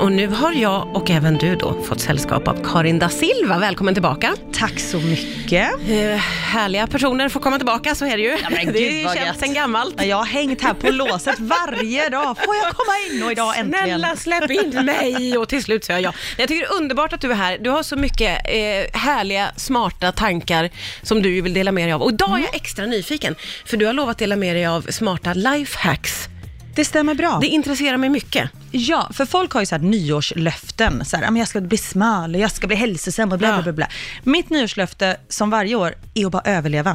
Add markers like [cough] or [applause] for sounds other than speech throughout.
och nu har jag och även du då fått sällskap av Karin da Silva. Välkommen tillbaka. Tack så mycket. Eh, härliga personer får komma tillbaka, så är det ju. Ja, men det gud, vad känns gött. sen gammalt. Jag har hängt här på låset varje dag. Får jag komma in? Och idag äntligen. Snälla släpp in mig! Och till slut säger jag ja. Jag tycker det är underbart att du är här. Du har så mycket eh, härliga, smarta tankar som du ju vill dela med dig av. Och idag är Mm. jag extra nyfiken, för du har lovat dela med dig av smarta lifehacks. Det stämmer bra. Det intresserar mig mycket. Ja, för folk har ju så här nyårslöften. Så här, "Ja, men jag ska bli smal och jag ska bli hälsosam och bla bla Ja. bla. bla. Mitt nyårslöfte som varje år är att bara överleva.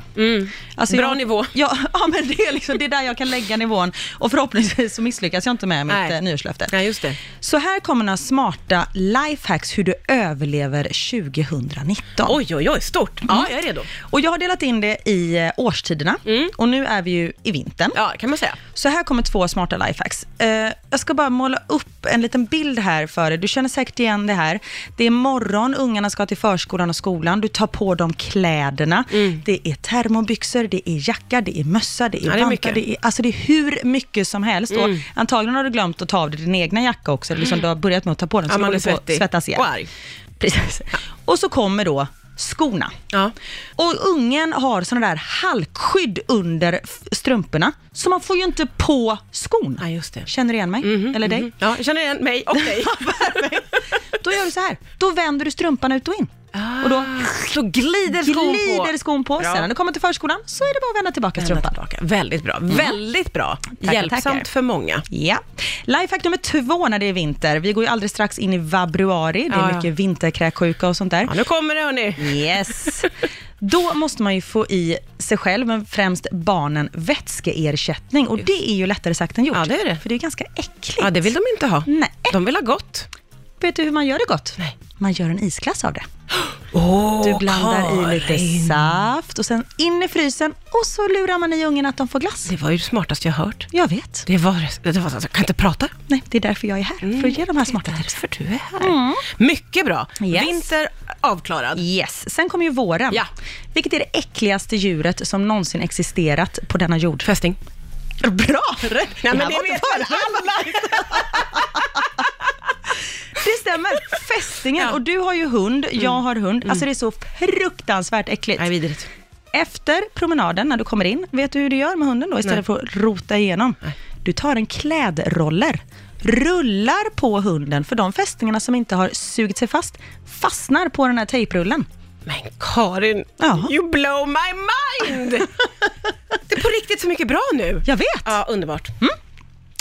Alltså, Mm. Bra jag, nivå. Ja, [laughs] ja men det är, liksom, det är där jag kan lägga nivån och förhoppningsvis så misslyckas jag inte med mitt Nej. eh, nyårslöfte. Nej, just det. Så här kommer några smarta lifehacks hur du överlever 2019. Oj, oj, oj, stort. Mm. Ja, jag är redo. Mm. Och jag har delat in det i eh, årstiderna och nu är vi ju i vintern. Ja, kan man säga. Så här kommer två smarta lifehacks. Eh, jag ska bara måla upp en liten bild här för dig. Du känner säkert igen det här. Det är morgon, ungarna ska till förskolan och skolan. Du tar på dem kläderna. Det är termobyxor, det är jacka, det är mössa, det är Mm. Ja, det är vantar. mycket. Mm. det är, alltså det är hur mycket som helst. Och antagligen har du glömt att ta av dig din egna jacka också, eller liksom du har börjat med att ta på den. Ja, Så man håller är på att svettig. svettas igen. Och arg. Precis. Och så kommer då skorna. Ja. Och ungen har sådana där halkskydd under f- strumporna, så man får ju inte på skon. Ja, just det. Mhm, Känner du igen mig? Eller dig? Mm, mm-hmm. Ja, jag känner igen mig och [laughs] dig. mhm. Då gör du så här, då vänder du strumpan ut och in. Och då Så Ah, glider skon på. Ah. glider skon på. Bra. Sen när du kommer till förskolan så är det bara att vända tillbaka Vända strumpan. tillbaka. Väldigt bra. Väldigt bra. Mm. tackar. Hjälpsamt för många. Ja. Lifehack nummer två när det är vinter. Vi går ju alldeles strax in i vabruari. Det är Ja, ja. mycket vinterkräksjuka och sånt där. Ja, nu kommer det hörni. Yes. Då måste man ju få i sig själv, men främst barnen, vätskeersättning. Och det är ju lättare sagt än gjort. Ja, det är det. För det är ju ganska äckligt. Ja, det vill de inte ha. Nej. De vill ha gott. Vet du hur man gör det gott? Nej. Man gör en isglass av det. Oh, Du blandar i lite saft och sen in i frysen och så lurar man i ungen att de får glass. Det var ju det smartaste jag hört. Jag vet. Det var, det var jag kan inte prata. Nej, det är därför jag är här. För att ge Mm, de här smarta tipsen. Därför du är här. Mycket bra. Mm. Yes. Vinter avklarad. Yes. Sen kommer ju våren. Ja. Vilket är det äckligaste djuret som någonsin existerat på denna jord? Fästing. Bra! Nej, men Jag det var inte vet förberedd. Det stämmer. Fästingen. Ja. Mm. Och du har ju hund, jag har hund. Alltså det är så fruktansvärt äckligt. Nej, vidrigt. Efter promenaden, när du kommer in, vet du hur du gör med hunden då? Istället Nej. för att rota igenom. Nej. Du tar en klädroller, rullar på hunden, för de fästingarna som inte har sugit sig fast, fastnar på den här tejprullen. Men Karin, Ja. you blow my [laughs] mind! det är på riktigt så mycket bra nu. Jag vet! Mm. Ja, underbart.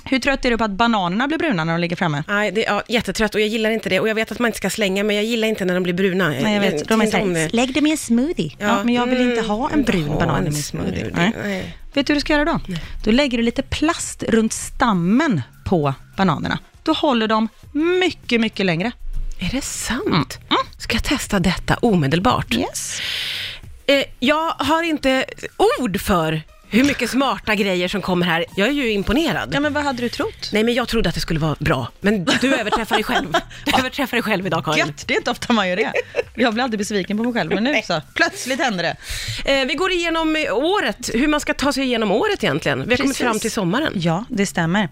Hur trött är du på att bananerna blir bruna när de ligger framme? Nej, det, ja, jättetrött och jag gillar inte det. Och jag vet att man inte ska slänga, men jag gillar inte när de blir bruna. Nej, jag vet. De tycker är inte om såhär, lägg dem i en smoothie. Ja, men jag vill inte mm, ha en brun ha banan en i min smoothie. smoothie. Nej. Nej. Vet du hur du ska göra då? Då lägger du lite plast runt stammen på bananerna. Då håller de mycket, mycket längre. Är det Mm. sant? Ska jag testa detta omedelbart? Yes. Eh, jag har inte ord för hur mycket smarta grejer som kommer här. Jag är ju imponerad. Ja, men vad hade du trott? Nej, men jag trodde att det skulle vara bra. Men [laughs] du överträffar dig själv. Du överträffar dig själv idag, Karin. Gött, det är inte ofta man gör det. Jag blir alltid besviken på mig själv, men nu så. Plötsligt händer det. Eh, vi går igenom eh, året, hur man ska ta sig igenom året egentligen. Vi har kommit Precis. fram till sommaren. Ja, det stämmer.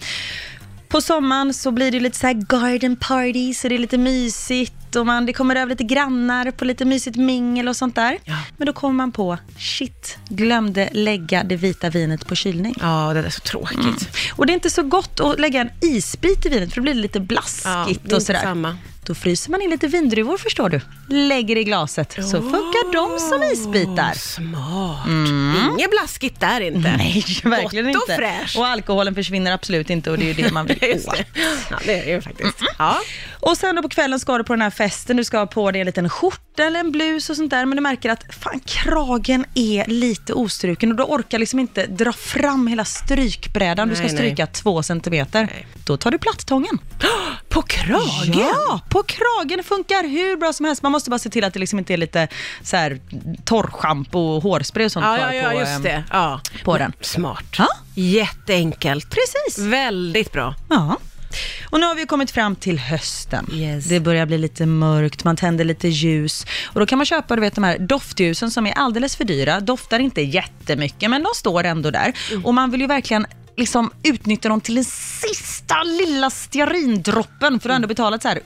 På sommaren så blir det lite så här garden parties och det är lite mysigt och man, det kommer över lite grannar på lite mysigt mingel och sånt där. Ja. Men då kommer man på, shit, glömde lägga det vita vinet på kylning. Ja, det där är så tråkigt. Och det är inte så gott att lägga en isbit i vinet för det blir lite Ja, det är blaskigt inte och sådär. samma. Då fryser man in lite vindruvor förstår du. Lägger i glaset så funkar de som Åh, isbitar. Mm. Smart. Inget blaskigt där inte. [laughs] Nej, verkligen Gott och inte. fräscht. Och alkoholen försvinner absolut inte och det är ju [laughs] det man vill [laughs] Just åt. det. Ja, det är det ju faktiskt. Mm. Ja. Och sen då på kvällen ska du på den här festen, du ska ha på dig en liten skjorta eller en blus och sånt där, men du märker att fan, kragen är lite ostruken och du orkar liksom inte dra fram hela strykbrädan, du Nej, ska nej. stryka två centimeter. Nej. Då tar du plattången. På kragen? Ja, på kragen funkar hur bra som helst. Man måste bara se till att det liksom inte är lite så här torrschampo och hårspray och sånt Ja, kvar ja, ja på, just ehm, det. Ja. på den. Smart. Ja. Jätteenkelt. Precis. Väldigt bra. Ja. Och nu har vi kommit fram till hösten. Yes. Det börjar bli lite mörkt, man tänder lite ljus. Och då kan man köpa du vet, de här Mm. doftljusen som är alldeles för dyra, doftar inte jättemycket men de står ändå där. Och man vill ju verkligen liksom utnyttjar dem till den sista lilla stearindroppen för du har ändå betalat så här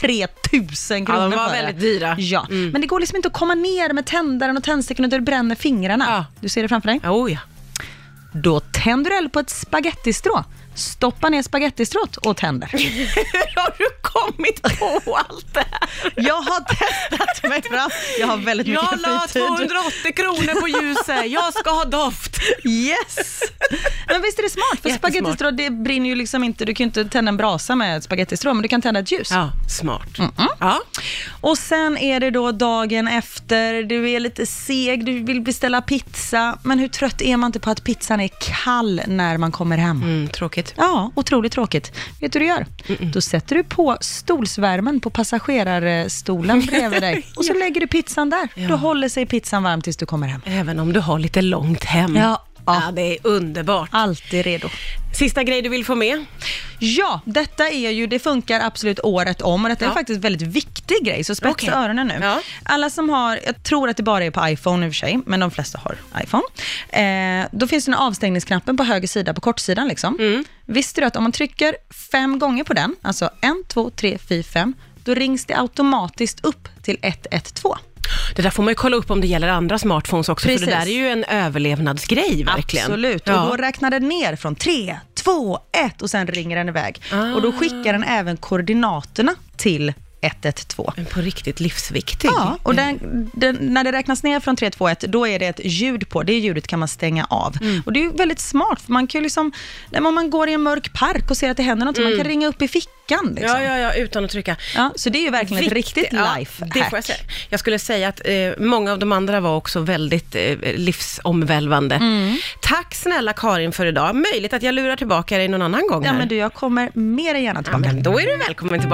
3000 kronor Mm. var för det. väldigt dyra. Mm. Ja, men det går liksom inte att komma ner med tändaren och tändstickan och det bränner fingrarna. Ja. Du ser det framför dig? Oh, ja. Då tänder du eld på ett spagettistrå. Stoppa ner spagettistrået och tänder. [laughs] Hur har du kommit på allt det här? Jag har testat mig fram. Jag har väldigt mycket Jag la fritid. 280 kronor på ljuset, jag ska ha doft. Yes! Men visst är det smart? För Jättesmart. spagettistrå, det brinner ju liksom inte. Du kan ju inte tända en brasa med ett spagettistrå, men du kan tända ett ljus. Ja, smart. Ja. Och sen är det då dagen efter, du är lite seg, du vill beställa pizza. Men hur trött är man inte på att pizzan är kall när man kommer hem? Mm, tråkigt. Ja, otroligt tråkigt. Vet du hur du gör? Då sätter du på stolsvärmen på passagerarstolen bredvid dig och så lägger du pizzan där. Då håller sig pizzan varm tills du kommer hem. Även om du har lite långt hem. Ja. ja det är underbart. Alltid redo. Sista grej du vill få med? Ja, detta är ju, det funkar absolut året om och detta Ja. är faktiskt en väldigt viktig grej, så spetsa Okej. öronen nu. Ja. Alla som har, jag tror att det bara är på iPhone i och för sig, men de flesta har iPhone. Eh, då finns den här avstängningsknappen på höger sida, på kortsidan liksom. Mm. Visste du att om man trycker fem gånger på den, alltså en, två, tre, fyra, fem, då rings det automatiskt upp till 112. Det där får man ju kolla upp om det gäller andra smartphones också, för Precis. det där är ju en överlevnadsgrej verkligen. Absolut, och då Ja. räknar den ner från tre, två, ett och sen ringer den iväg. Ah. Och då skickar den även koordinaterna till 112. Men på riktigt livsviktig. Ja, och den, den, när det räknas ner från 3, 2, 1, då är det ett ljud på. Det ljudet kan man stänga av. Mm. Och det är ju väldigt smart, för man kan ju liksom, nej, men om man går i en mörk park och ser att det händer något, man kan ringa upp i fickan. Liksom. Mm. Ja, Ja, ja, ja, utan att trycka. så det är ju verkligen ett Viktigt- riktigt ja, lifehack. det får jag, säga. jag skulle säga att eh, många av de andra var också väldigt eh, livsomvälvande. Mm. Tack snälla Karin för idag. Möjligt att jag lurar tillbaka dig någon annan gång. Ja, här. men du, jag kommer mer än gärna Mm. Ja, tillbaka. men då är du välkommen tillbaka.